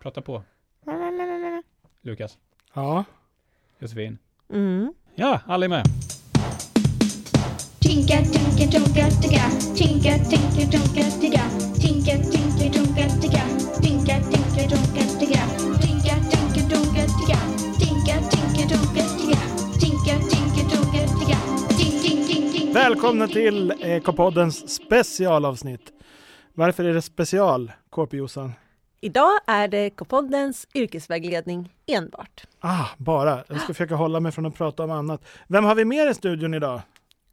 Prata på, Lukas. Ja. Josefin. Mm. Ja, alla är med. Tinka, tinka, tonka, ticka. Tinka, tinka, tonka, ticka. Tinka, tinka, tonka, ticka. Tinka, tinka, tonka, ticka. Tinka, tinka, tonka, ticka. Tinka, tinka, tonka, ticka. Tinka, tinka, tonka, ticka. Tink, tink, tink, tink. Välkomna till Ekopoddens specialavsnitt. Varför är det special, KP-Jossan? Idag är det K-poddens yrkesvägledning enbart. Ah, bara. Jag ska försöka hålla mig från att prata om annat. Vem har vi mer i studion idag?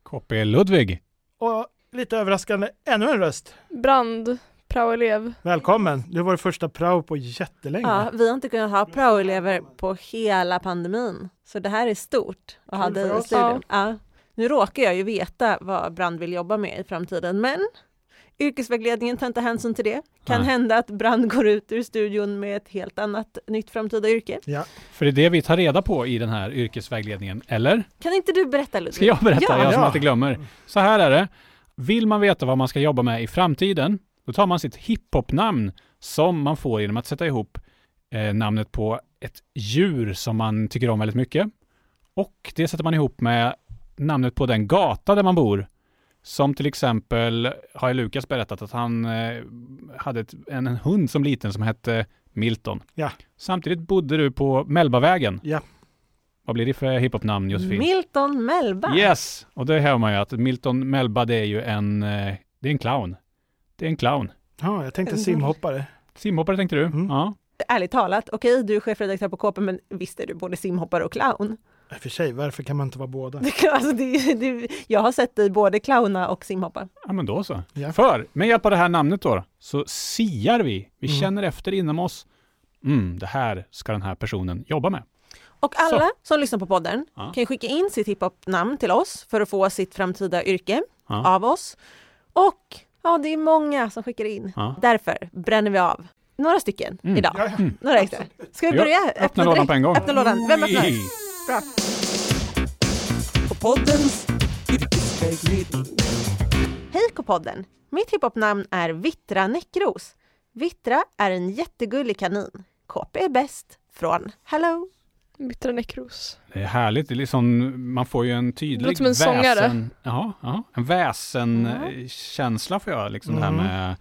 KP Ludvig. Och lite överraskande, ännu en röst. Brand, praoelev. Välkommen! Du var första prao på jättelänge. Ja, vi har inte kunnat ha praoelever på hela pandemin, så det här är stort att ha Kul för dig i oss. studion. Ja. Nu råkar jag ju veta vad Brand vill jobba med i framtiden, men yrkesvägledningen tar inte hänsyn till det. Kan Nej. hända att Brand går ut ur studion med ett helt annat nytt framtida yrke. För det är det vi tar reda på i den här yrkesvägledningen, eller? Kan inte du berätta Ludvig? Ska jag berätta? Ja. Jag som Ja. alltid glömmer. Så här är det. Vill man veta vad man ska jobba med i framtiden, då tar man sitt hiphop-namn som man får genom att sätta ihop eh, namnet på ett djur som man tycker om väldigt mycket. Och det sätter man ihop med namnet på den gata där man bor. Som till exempel har ju Lukas berättat att han eh, hade ett, en, en hund som liten som hette Milton. Ja. Samtidigt bodde du på Mellbavägen. Ja. Vad blir det för hiphop-namn Josefin? Milton Melba. Yes! Och det hör man ju att Milton Melba det är ju en, eh, det är en clown. Det är en clown. Ja, jag Mm. tänkte simhoppare. Simhoppare tänkte du? Mm. Ja. Ärligt talat, okej du är chefredaktör på KP, men visst är du både simhoppare och clown? I och för sig, varför kan man inte vara båda? Det kan- Alltså, det, det, jag har sett dig både clowna och simhoppa. ja, men då så. Ja. För med hjälp av det här namnet då, så siar vi. Vi Mm. känner efter inom oss. Mm, det här ska den här personen jobba med. Och alla som lyssnar på podden Ja. kan ju skicka in sitt hiphop-namn till oss för att få sitt framtida yrke Ja. av oss. Och ja, det är många som skickar in. Ja. Därför bränner vi av några stycken Mm. idag. Ja, ja. Några extra. Ska vi Ja, börja? öppna lådan direkt? på en gång. Öppna lådan. Vem öppnar? Oj. Bra. Hej K-podden! Mitt hiphop-namn är Vittra Näckros. Vittra är en jättegullig kanin. KP är bäst från Hello! Bittra nekros. Det är härligt. Det är liksom, man får ju en tydlig Det låter som en sångare. väsen... Ja, ja. En Ja. väsenkänsla får jag. Liksom det här Mm. med...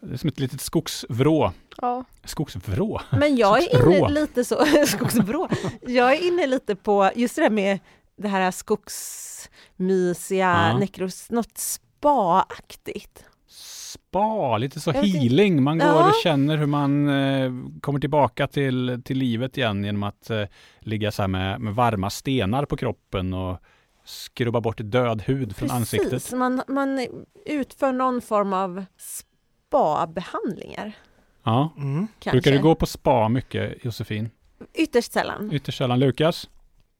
Det är som ett litet skogsvrå. Ja. Skogsvrå? Men jag är Skogsbrå. inne lite så, skogsbrå. Jag är inne lite på just det där med det här skogsmysiga Ja. Näckros, något spaaktigt. spa, lite så Jag vet healing. Man går Ja. och känner hur man eh, kommer tillbaka till, till livet igen genom att eh, ligga så här med, med varma stenar på kroppen och skrubba bort död hud från ansiktet. man, man utför någon form av spabehandlingar. Ja. Mm. Kanske. Brukar du gå på spa mycket Josefin? Ytterst sällan. Ytterst sällan Lukas?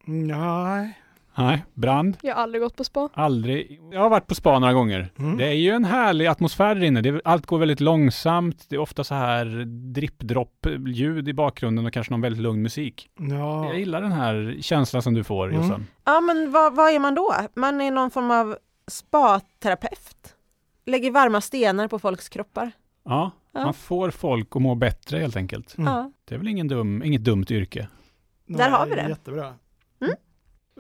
Nej. Nej. Brand? Jag har aldrig gått på spa. Aldrig. Jag har varit på spa några gånger. Mm. Det är ju en härlig atmosfär där inne. Det, är- allt går väldigt långsamt. Det är ofta så här dripp-dropp-ljud i bakgrunden och kanske någon väldigt lugn musik. Ja. Jag gillar den här känslan som du får Mm. Jossan. Ja, men vad, vad är man då? Man är någon form av spaterapeut. Lägger varma stenar på folks kroppar. Ja, Ja. man får folk att må bättre helt enkelt. Mm. Ja. Det är väl ingen dum, inget dumt yrke? Där har vi det. Jättebra. Mm.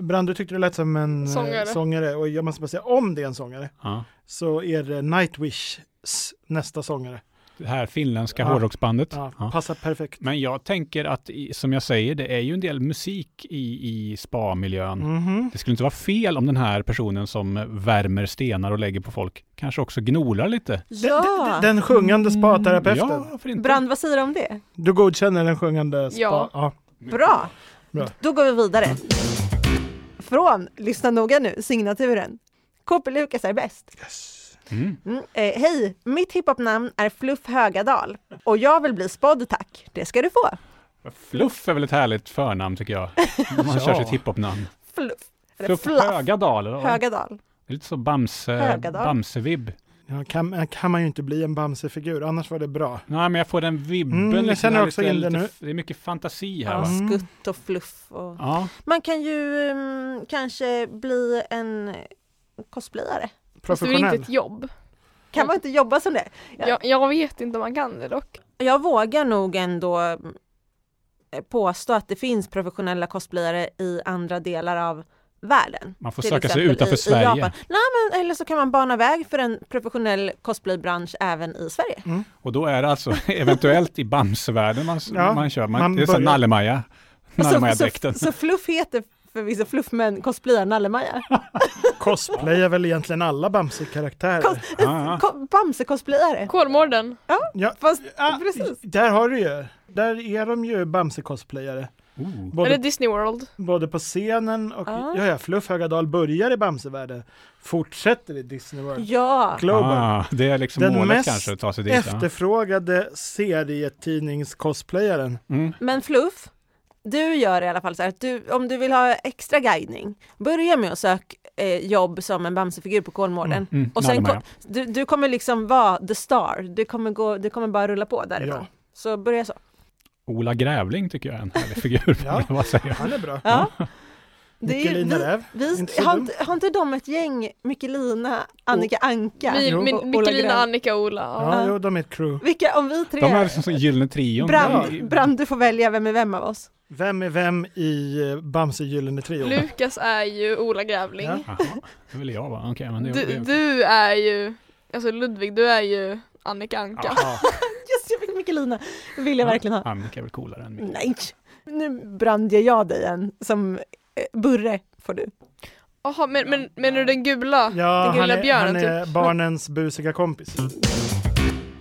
Brand, du tyckte det lät som en eh, Sångare. sångare och jag måste bara säga, om det är en sångare Ja. så är det Nightwishs nästa sångare. Det här finländska Ja. hårdrocksbandet. Ja, Ja. Passar perfekt. Men jag tänker att, i- som jag säger, det är ju en del musik i, i spa-miljön. Mhm. Det skulle inte vara fel om den här personen som värmer stenar och lägger på folk kanske också gnolar lite. ja. Den sjungande spaterapeuten. Mm, Ja, varför inte? Brand, vad säger du om det? Du godkänner den sjungande spa? Ja. Bra. Bra. Då går vi vidare. Från, lyssna noga nu, signaturen. KP Lukas är bäst. Yes. Mm. Mm. Eh, Hej, mitt hiphopnamn är Fluff Högadal och jag vill bli spådd tack. Det ska du få. Fluff är väl ett härligt förnamn tycker jag. Om man Ja. kör sitt hiphop-namn. Fluff. Eller Fluff Fluff. Högadal. ja. Högadal. Det är lite så Bamse, Högadal. Bamse-vibb. Ja, kan, eh, kan man ju inte bli en Bamse-figur, annars var det bra. Nej, men jag får den vibben. Mm, jag liksom. känner här också lite- in det lite- nu. Det är mycket fantasi här Ja, va? Mm. skutt och fluff. Och... Ja, Man kan ju mm, kanske bli en eh, cosplayare. Fast det är väl inte Professionell. ett jobb. Kan man inte jobba som det? Ja. Jag, jag vet inte om man kan det dock. jag vågar nog ändå mm, påstå att det finns professionella cosplayare i andra delar av världen. Man får Till söka sig exempel utanför liksom i, I Sverige. Japan. Nej, men, eller så kan man bana väg för en professionell cosplaybransch även i Sverige. Och då är det alltså eventuellt i Bamsevärlden man, s- Ja, man kör. Man, man det är så här börjar- Nallemaja. Så, Nallemaja-dräkten. så, så Fluff heter förvisso Fluff, men cosplayar Nallemaja. Cosplay är väl egentligen alla Cos- Bamse-karaktärer? Ja, ja. Ko- Bamse-cosplayare. Kolmården. Ja, Fast Ah, precis. Där har du ju. Där är de ju Bamse-cosplayare. Oh. Eller Både, Disney World. både på scenen och Ah. ja, ja, Fluff Högadal börjar i Bamsevärlden, fortsätter i Disney World. Ja, Global. Ah, det är liksom Den målet mest kanske, att ta sig dit. Efter... Efterfrågade serietidnings-cosplayaren. Ja. Mm. men Fluff, du gör i alla fall så här att du, om du vill ha extra guidning, börja med att söka eh, jobb som en Bamsefigur på Kolmården. Mm, Mm. Och sen Nallemaja. kom, du, du kommer liksom vara the star, du kommer, gå, du kommer bara rulla på därifrån. Ja. Så börja så. Ola Grävling tycker jag är en härlig figur. Ja. Vad säger jag? Han är bra. Ja. Det är ju, Michelina vi, Räv. Inte vi, så har, dum. inte, har inte de ett gäng Michelina, Annika Anka? Mi, Jo. mi, och Ola Mikkelina, Grön? Annika och Ola. Ja. Ja, jo, de är ett crew. Vilka, om vi tre, De är liksom som gyllene trion. Brand, Ja. Brand, du får välja vem är vem av oss. Vem är vem i eh, Bamse Gyllene Trio? Lukas är ju Ola Grävling. Ja. Jaha, det vill jag vara. Okej, men det, Du, det, du är ju, alltså Ludvig, du är ju Annika Anka. Ja, Just jag fick Michelina, det vill jag Ja. verkligen ha. Annika är väl coolare än mig. Nej, nu brand jag dig en som eh, Burre får du. Jaha, men, men menar du den gula? Ja, Den han lilla är, björnen, typ. han är barnens busiga kompis.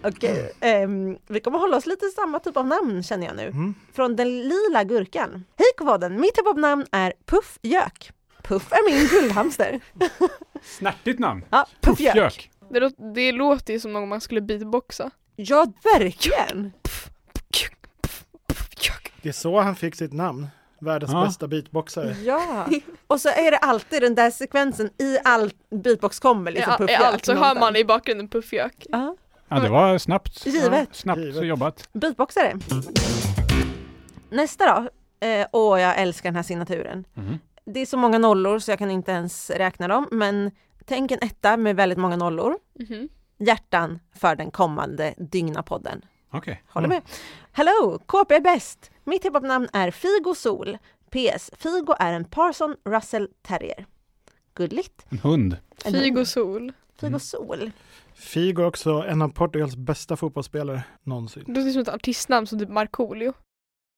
Okej, ehm, vi kommer hålla oss lite i samma typ av namn känner jag nu. Mm. Från den lila gurkan. Hej Koboden, mitt hiphop-namn är Puff Jök. Puff är min guldhamster. Snärtigt namn! Ja, Puff Jök. Puffjök! Det, lå- det låter ju som någon man skulle beatboxa. Ja, verkligen. Det är så han fick sitt namn. Världens Ja. bästa beatboxare. Ja. Och så är det alltid den där sekvensen i all beatbox kommer liksom Puff I, i Jök. allt så alltså hör någonstans. man i bakgrunden Puffjök. Ja, Ja, det var snabbt. givet. Snabbt Givet. jobbat. Beatboxare. Nästa då. Eh, åh, jag älskar den här signaturen. Mhm. Det är så många nollor så jag kan inte ens räkna dem, men tänk en etta med väldigt många nollor. Mhm. Hjärtan för den kommande Dygna-podden. Okej. Håller med. Hello! KP är bäst. Mitt hiphopnamn är Figo Sol. PS. Figo är en Parson Russell Terrier. Gulligt. En hund. En Fyg hund. och sol. Figo Sol. Figo är också en av Portugals bästa fotbollsspelare någonsin. Det låter som ett artistnamn som typ Markoolio.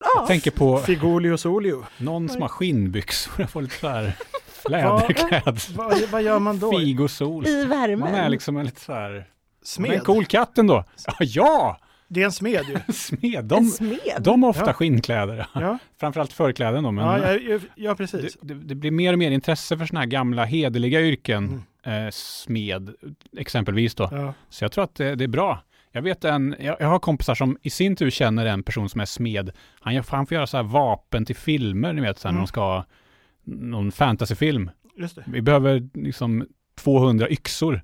Ja, Jag tänker på Figolius Olio. någon som har skinnbyxor. Jag får lite så här Vad- läderklädsel. Vad, vad gör man då? Figo sol. i värmen. Man är liksom en lite så här... Man är Smed. en cool katt ändå. Ja, Ja! Det är en smed ju. Smed. en De, smed. de har ofta Ja. skinnkläder. Ja, Framförallt förkläden då. Men ja, ja, ja, ja precis. det, det, det blir mer och mer intresse för sådana här gamla hederliga yrken. Eh, smed exempelvis då. Mm. Ja. Så jag tror att det, det är bra. Jag vet en, jag, jag har kompisar som i sin tur känner en person som är smed. Han, gör- han får göra så här vapen till filmer, ni vet, så här, Mm. när de ska ha någon fantasyfilm. Just det. Vi behöver liksom 200 yxor.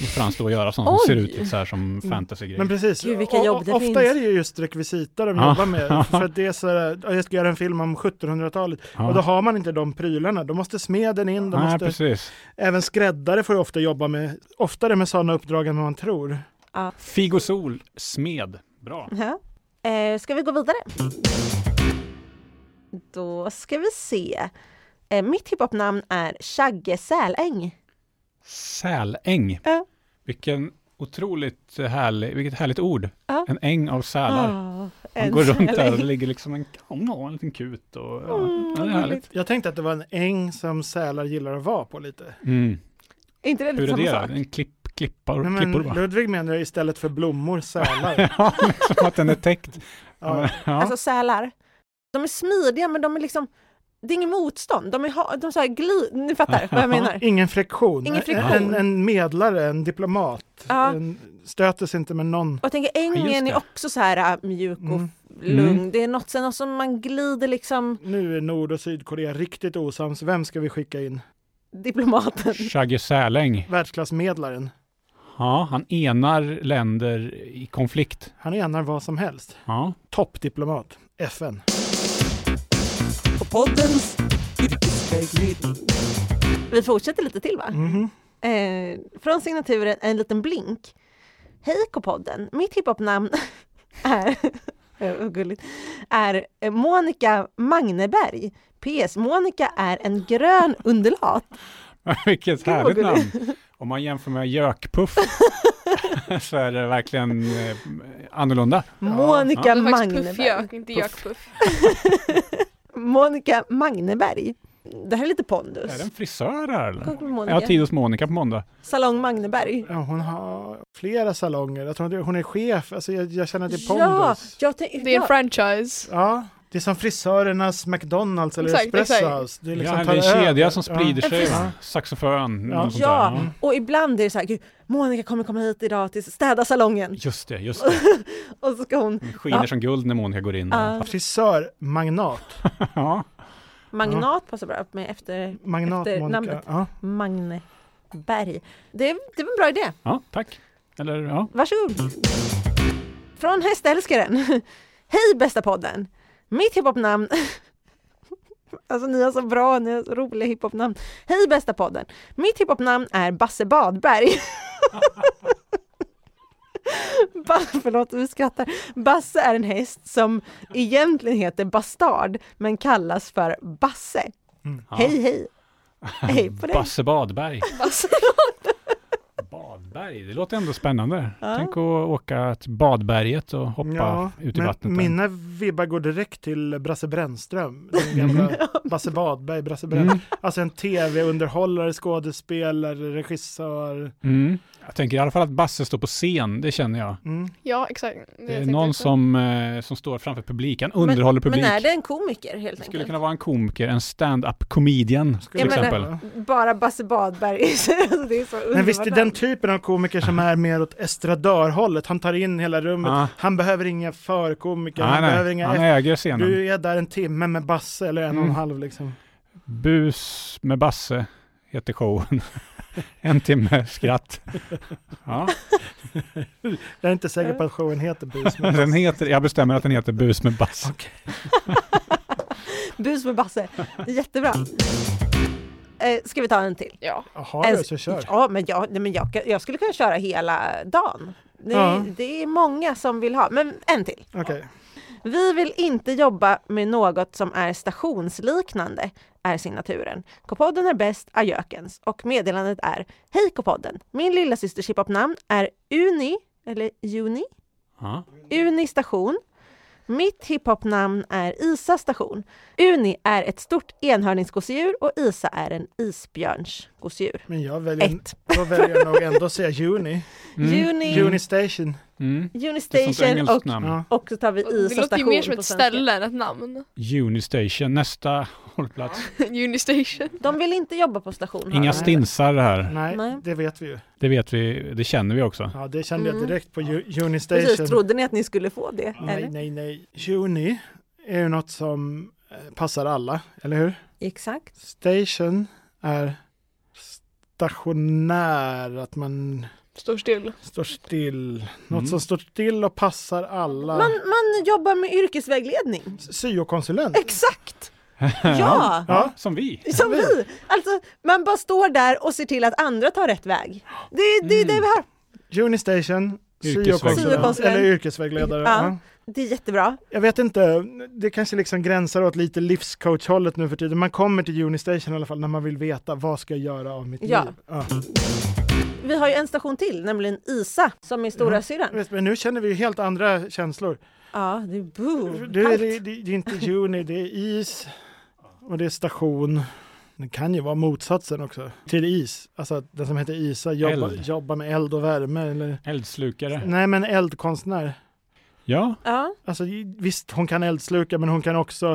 Då får han stå och göra sånt som Oj! ser ut lite så här som fantasygrejer. Men precis, Gud, vilka O- o- jobb det ofta finns. är det ju just rekvisita de Ja. jobbar med. För att det är så här, ja, jag ska göra en film om 1700-talet. ja. Och då har man inte de prylarna. Då måste smeden in, då Nej, måste... precis. Även skräddare får ju ofta jobba med, oftare med sådana uppdrag än vad man tror. Figo Sol, smed. Bra. Ja. Eh, ska vi gå vidare? Då ska vi se. Eh, mitt hiphopnamn är Chagge Säläng. Säläng. Ja. Vilken otroligt härlig, vilket härligt ord. Ja. En äng av sälar. Ah, Man en går runt där och det säläng. ligger liksom en, ja, en liten kut och ja, Mm, ja, det är härligt. Jag tänkte att det var en äng som sälar gillar att vara på lite. Mm. Är inte det lite Hur är samma det? sak? då? En klipp, klippar, Nej, men klippor bara? Ludvig menar istället för blommor sälar. ja, liksom att den är täckt. ja. Ja. Ja. Alltså sälar. De är smidiga men de är liksom, det är inget motstånd. De är, ha- de så här gli, ni fattar vad jag menar. Ingen friktion. Ingen friktion. En, en medlare, en diplomat. Ja. En, stöter sig inte med någon. Och jag tänker Ja, just ängen det. är också så här äh, mjuk och Mm. lugn. Mm. Det är något, sen något som man glider liksom Nu är Nord och Sydkorea riktigt osams. Vem ska vi skicka in? diplomaten. Shaggy Säläng. Världsklassmedlaren. Ja, han enar länder i konflikt. Han enar vad som helst. Ja. Toppdiplomat. FN. Vi fortsätter lite till va? Mm. Mhm. Eh, från signaturen en liten blink. Hej K-podden, mitt hiphopnamn är, Eh, vad gulligt, är eh, Monica Magneberg. PS. Monica är en grön undulat. Vilket Gud, vad härligt gulligt. namn. Om man jämför med Jökpuff så är det verkligen eh, annorlunda. Det Monica är faktiskt Magneberg. puffjök, inte Puff. jökpuff. Monica Magneberg. Det här är lite pondus. Är det en frisör här eller? Kolla på Jag har Monica. tid hos Monica på måndag. Salong Magneberg. Ja, hon har flera salonger. Jag tror inte- hon är chef. Alltså, jag, jag känner att det är Ja, pondus. jag tänk, Det är en ja. franchise. Ja, det är som frisörernas McDonalds eller Exakt, Espresso exakt. House. Det är liksom Ja, det tar är en kedja över. som sprider Ja. sig. Ja. va? Saxofon. Ja. Ja. Sånt där. ja, ja. och ibland är det så här, "Gud, Monica kommer komma hit idag till städa salongen. Just det, just det. Och så ska hon, Den skiner Ja. som guld när Monica går in. ah, Frisörmagnat. Ja. Magnat passar bra med efter Magnat Efter Monica. namnet. Ja. Magneberg. Det, det var en bra idé. ja, tack. Eller ja. Varsågod! Från hästälskaren. Hej bästa podden! Mitt hiphopnamn... Alltså ni har så bra, ni har så roliga hiphopnamn. Hej bästa podden! Mitt hiphopnamn är Basse Badberg. ba, förlåt, vi skrattar. Basse är en häst som egentligen heter Bastard men kallas för Basse. Mm, ja. Hej hej! Hej på dig! Basse Badberg. Alltså, Badberg, det låter ändå spännande. Tänk att åka till Badberget och hoppa Ja, ut i men vattnet. där. Mina vibbar går direkt till Brasse Brännström. Den gamla Basse Badberg, Brasse Brännström. Mm. Alltså en tv-underhållare, skådespelare, regissör. Mm. Jag tänker i alla fall att Basse står på scen, det känner jag. Mm. ja, exakt. Det Det är tänkte jag någon också. som, eh, som står framför publiken, underhåller publik. Men är det en komiker helt Det enkelt? skulle kunna vara en komiker, en stand-up comedian till Skulle Jag menar- exempel. bara Basse Badberg. Alltså, det är så underbart. Men visst är den typen av komiker som är mer åt estradörhållet. Han tar in hela rummet. Ah. Han behöver inga förkomiker. nej, han behöver nej. inga... Han äger scenen. Du är där en timme med Basse eller en och en Mm. halv liksom. Bus med Basse heter showen. en timme skratt. Ja, Jag är inte säker på att showen heter Bus. men- den heter, jag bestämmer att den heter Bus med Basse. Bus med Basse. Jättebra. Eh, ska vi ta en till? Ja. Jaha, En- du, så kör. Ja, men, jag, nej, men jag, kan- jag skulle kunna köra hela dagen. Det, är- Ja. det är många som vill ha, men en till. Okej. Vi vill inte jobba med något som är stationsliknande, är signaturen. K-podden är bäst, ajökens. Och meddelandet är Hej K-podden! Min lilla systers hiphopnamn är Uni, eller Juni, Ja. Uni station. Mitt hiphopnamn är Isa station. Uni är ett stort enhörningsgosedjur och Isa är en isbjörnsgosedjur. Men jag väljer, Ett. då väljer jag nog ändå att säga Juni. Juni, Juni Station. Mm. Uni Ett sånt station engelskt och, namn. Ja. och så tar vi Och Det Isa låter ju station mer som på ett svenska. ställe än ett namn. Unistation, nästa hållplats. Unistation. De vill inte jobba på station. Inga här. stinsar här, Nej, Nej. det vet vi ju. det vet vi, det känner vi också. Ja, det kände Mm. jag direkt på Ju- Juni Precis, Station. trodde ni att ni skulle få det? Nej, eller? nej, nej. Juni är ju något som eh, passar alla, eller hur? Exakt. Station är stationär, att man Står still. står still. Något Mm. som står still och passar alla. Man, man jobbar med yrkesvägledning. Syokonsulent. Exakt! Ja! Ja. Som vi. Som vi! Alltså, man bara står där och ser till att andra tar rätt väg. Det är det, är det vi har. Juni Station, Yrkesvägledare. syokonsulent Syokonsulent. eller yrkesvägledare. Ja. Ja. Det är jättebra. Jag vet inte, det kanske liksom gränsar åt lite livscoachhållet nu för tiden. Man kommer till Unistation i alla fall när man vill veta vad ska jag göra av mitt Ja. liv. Ja. Vi har ju en station till, nämligen Isa, som är stora syrran. Vet, Men nu känner vi ju helt andra känslor. Ja, det är boom. Det, det, Allt. det, det är inte Uni, det är is och det är station. Det kan ju vara motsatsen också till is. Alltså att den som heter Isa jobbar, Eld. jobbar med eld och värme. Eller... Eldslukare. Nej men eldkonstnär. Ja, Ja, Alltså visst, hon kan eldsluka men hon kan också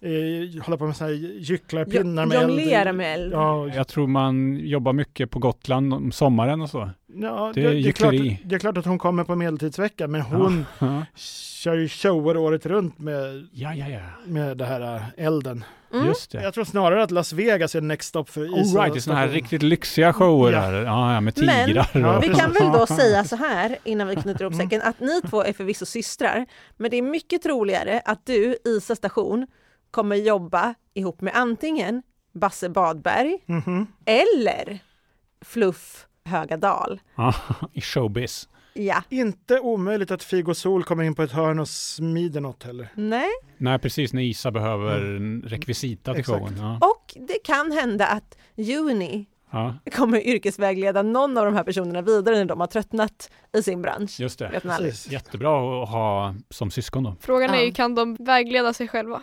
eh, hålla på med såna här gycklarpinnar med eld. jonglera med eld. Ja, och jag tror man jobbar mycket på Gotland om sommaren och så. Ja, Det det, är det, är klart, gyckleri. det är klart att hon kommer på medeltidsvecka, men hon Ja, kör ju shower året runt med, ja, ja. ja. med det här äh, elden. Mm. Just det. Jag tror snarare att Las Vegas är next stop för All is. right, det är sådana här riktigt lyxiga shower Ja. här. Ja, ja, med Men- tigrar Ja, och... Vi kan väl då säga så här innan vi knyter ihop säcken att ni två är förvisso systrar, men det är mycket troligare att du, Isa station, kommer jobba ihop med antingen Basse Badberg Mhm. eller Fluff Högadal. Ja, I showbiz. Ja, Inte omöjligt att Figo Sol kommer in på ett hörn och smider något heller. nej. Nej, precis när Isa behöver en rekvisita till Exakt. showen. Ja. Och det kan hända att Juni ja, kommer yrkesvägleda någon av de här personerna vidare när de har tröttnat i sin bransch. just det. Vet man aldrig. Precis. Jättebra att ha som syskon då. Frågan är ju, Ja. kan de vägleda sig själva?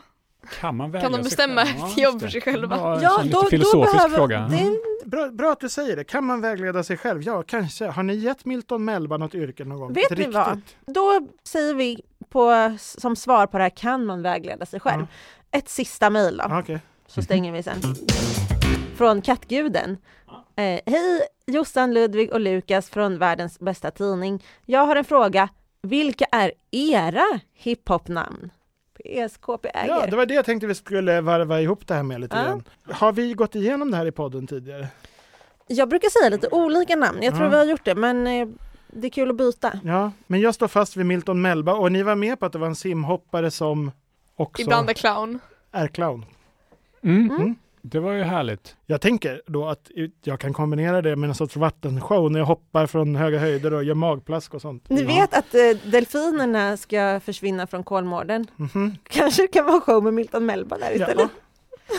Kan man välja Kan de sig bestämma själv? ett Ja, just jobb det. för sig själva? Bra, ja, lite filosofisk fråga. Det, Mm. Ja. Bra, bra att du säger det. Kan man vägleda sig själv? Ja, kanske. Har ni gett Milton Melba något yrke någon gång? Vet Ett ni vad? riktigt? Då säger vi på, som svar på det här, kan man vägleda sig själv? Ja. Ett sista mejl då, Ja, Ah, okej. så stänger vi sen. Från kattguden. Eh, Hej Jossan, Ludvig och Lukas från världens bästa tidning. Jag har en fråga. Vilka är era hiphopnamn? PSKP äger. Ja, det var det jag tänkte vi skulle varva ihop det här med lite Ja. grann. Har vi gått igenom det här i podden tidigare? Jag brukar säga lite olika namn. Jag tror Ja. vi har gjort det, men eh, det är kul att byta. Ja, men jag står fast vid Milton Melba och ni var med på att det var en simhoppare som också Ibland är clown. är clown. Mm. Mm. Det var ju härligt. Jag tänker då att jag kan kombinera det med en sorts vattenshow när jag hoppar från höga höjder och gör magplask och sånt. Ni Ja. vet att eh, delfinerna ska försvinna från Kolmården. Mhm. Kanske det kan vara show med Milton Melba där istället.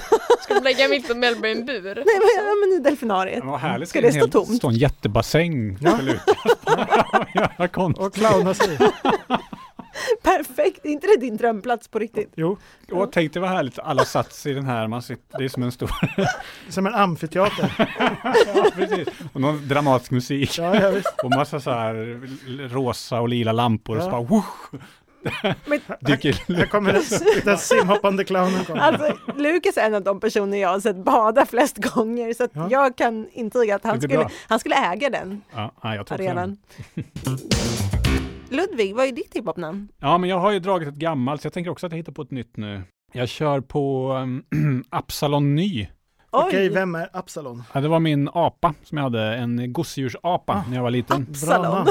Ska de lägga Milton Mellberg i en bur? Nej, men, ja, men i delfinariet. Vad härligt. Ska det stå En hel- tomt? Stå en jättebassäng Ja. för Lukas. Jävla konst. Och clowna sig. Perfekt, är inte det din drömplats på riktigt? Jo, Åh, tänk dig vad härligt. Alla sats i den här. Man sitter, det är som en stor... som en amfiteater. Ja, precis. Och någon dramatisk musik. Ja, ja, visst. Och massa så här l- rosa och lila lampor och så Ja. bara whoosh, Men dyker Här kommer den, den simhoppande clownen. Kommer. alltså, Lukas är en av de personer jag har sett bada flest gånger så att Ja. jag kan intyga att han Gick det skulle, bra? han skulle äga den Ja, nej, jag tog den. arenan. Ludvig, vad är ditt hiphopnamn? Ja, men jag har ju dragit ett gammalt, så jag tänker också att jag hittar på ett nytt nu. Jag kör på um, Absalon Ny. Oj, Okej, vem är Absalon? Ja, det var min apa som jag hade, en gosedjursapa när jag var liten. Absalon. namn.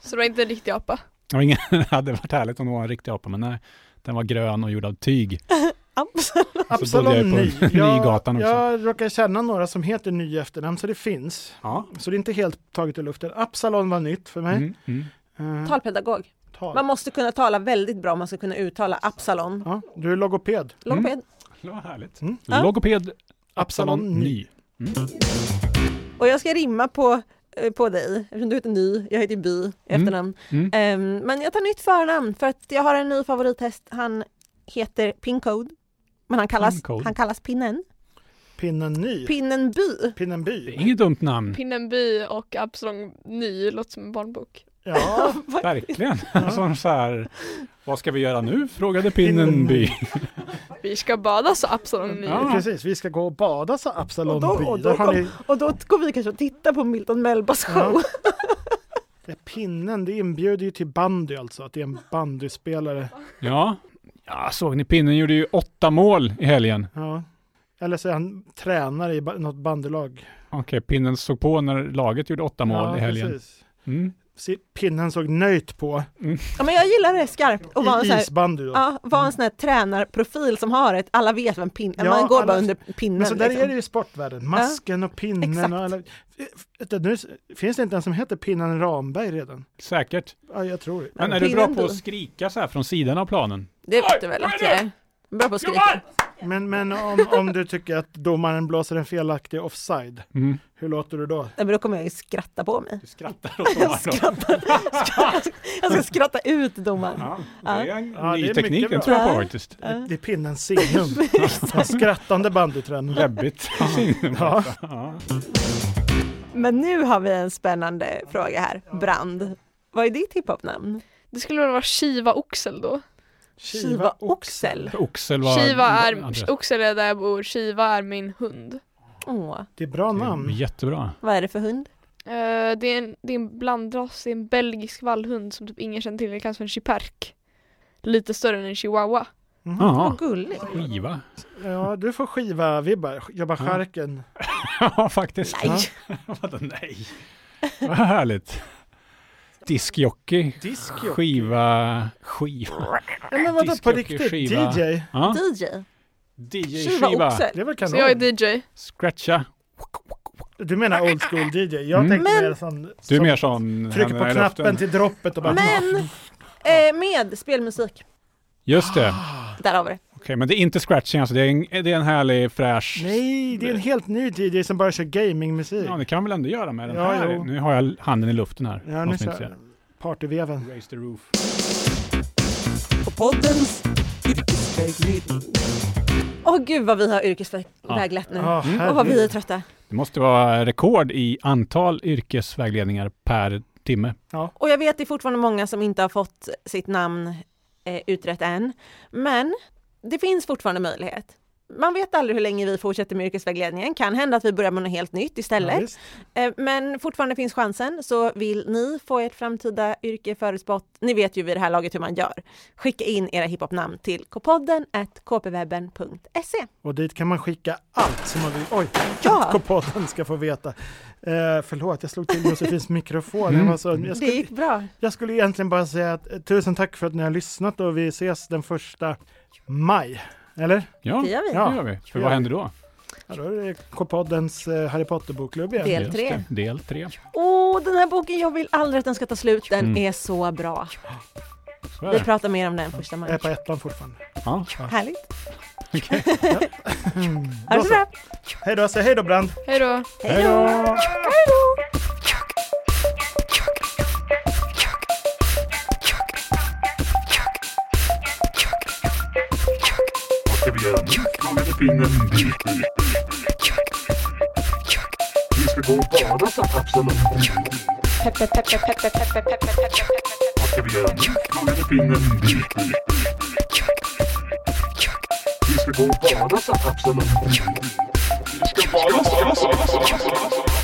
Så det var inte en riktig apa. Jag ingen, det hade varit härligt om det var en riktig apa, men nej. Den var grön och gjord av tyg. Absalon. bodde jag Absalon ju på Ny. Nygatan också. jag råkar känna några som heter Ny i efternamn, så det finns. Ja. Så det är inte helt taget ur luften. Absalon var nytt för mig. Mm, mm. Eh, Talpedagog. tal. Man måste kunna tala väldigt bra om man ska kunna uttala Absalon. Ja, du är logoped. Logoped. Det var härligt. Mm. Ja. Logoped Absalon Ny. Och jag ska rimma på, eh, på dig, eftersom du heter Ny, jag heter By i efternamn. Mm. Ehm, men jag tar nytt förnamn för att jag har en ny favorithäst. Han heter Pincode, men han kallas, Pincode. han kallas Pinnen. Pinnen Ny. Pinnen By. Pinnen Det är By. inget dumt namn, Pinnenby och Absalon Ny låter som en barnbok. Ja, verkligen. Som så här, vad ska vi göra nu? Frågade Pinnenby. Vi ska bada så Absalon Ny. Ja. precis. Vi ska gå och bada sa Absalon Och då- By. och då Där har kom- ni Och då går vi kanske och tittar på Milton Melbas show. ja, pinnen. Det inbjuder ju till bandy alltså, att det är en bandyspelare. Ja. ja, såg ni? Pinnen gjorde ju åtta mål i helgen. Ja. Eller så är han tränare i ba- något bandylag. Okej, pinnen såg på när laget gjorde åtta mål Ja, i helgen. precis. Mm. Se- Pinnen såg nöjt på Ja, men jag gillar det skarpt. Och vara en i sån här, isbandy då. ja, vara en sån här tränarprofil som har ett, alla vet vem pin, Ja, man går alla- bara under pinnen. Men så där liksom. är det ju i sportvärlden. Masken och pinnen Exakt. och alla... Vet du, Nu s- finns det inte en som heter pinnen Ramberg redan. Säkert. Ja, jag tror det. Men Men är du bra pinnen på då? att skrika så här från sidan av planen? det vet du väl att jag är bra på att skrika. Men, men om, om du tycker att domaren blåser en felaktig offside, Mm. hur låter du då? Nej, men då kommer jag ju skratta på mig. Du skrattar åt domaren då. skrattar, skrattar, jag ska skratta ut domaren. Ja, det är en Ja, det är ny mycket teknik, bra. den tror jag på Ja. faktiskt. Ja. Det är pinnens signum. En skrattande bandytränare. Läbbigt. Ja. Ja. Men nu har vi en spännande fråga här. Brand. Vad är ditt hiphopnamn? Det skulle väl vara Kiva Oxel då? Kiva Oxel. Oxel var... Kiva är, adress. Oxel är där jag bor, Kiva är min hund. Åh, Det är bra namn. Jättebra. vad är det för hund? Eh, det, är en, det är en blandras, det är en belgisk vallhund som typ ingen känner till, det kallas för en chiperk. Lite större än en chihuahua. Ja, Vad gullig. skiva. Ja, du får skiva-vibbar. Jobba charken. Ja, faktiskt. Nej. Vadå nej? Vad härligt. Diskjockey, Diskjockey. skiva, skiva. Ja, men vadå, på Diskjockey, riktigt? skiva. DJ? Ja. DJ. DJ Kiva Skiva, Oxel. Det är väl Så jag kanon? är DJ. scratcha. Du menar old school DJ? Jag Mm. tänker Men- mer sån... Du är som mer sån... Trycker händerna på i knappen luften. till droppet och bara... Men eh, med spelmusik. Just det. Där har vi det. Okej, men det är inte scratching alltså. Det är en, det är en härlig fräsch... Nej, det är en helt ny DJ som bara kör gamingmusik. Ja, det kan man väl ändå göra med den Ja, här? jo. Nu har jag handen i luften här. Ja, nu Måste ni inte kör partyveven. se. Raise the roof. Åh gud vad vi har yrkesväglett nu. Ja, Mm. Och vad vi är herregud. trötta. Det måste vara rekord i antal yrkesvägledningar per timme. Och jag vet det är fortfarande många som inte har fått sitt namn eh, utrett än. Men det finns fortfarande möjlighet. Man vet aldrig hur länge vi fortsätter med yrkesvägledningen. Kan hända att vi börjar med något helt nytt Ja, istället. visst. Eh, Men fortfarande finns chansen, så vill ni få ert framtida yrke förutspått, ni vet ju vid det här laget hur man gör. Skicka in era hiphopnamn till kpodden kpwebben.se. Och dit kan man skicka allt som man vill. Oj, Ja. K-podden ska få veta. Eh, förlåt, jag slog till Josefins mikrofon. Mm. Jag, var så, jag, Det skulle, gick bra. jag skulle egentligen bara säga att, eh, tusen tack för att ni har lyssnat och vi ses den första maj. Eller? Ja, Det gör vi. det gör vi. För vad händer då? Ja, då är det K-poddens eh, Harry Potter-bokklubb igen. Del Just tre. det, Del tre. Åh, den här boken, jag vill aldrig att den ska ta slut. Den Mm. är så bra. Så är Vi det. pratar mer om den första Jag är maj. på ettan fortfarande. Ja, Härligt. okej. Ha det Då så så. bra. Hej då, säg hej då Brand. Hej då! Hej då! Hej då. Pepper, pepper, pepper, pepper, pepper, pepper, pepper. Vi ska gå och bada, sa kapselen. Vi ska bada, bada, bada, bada, bada, bada.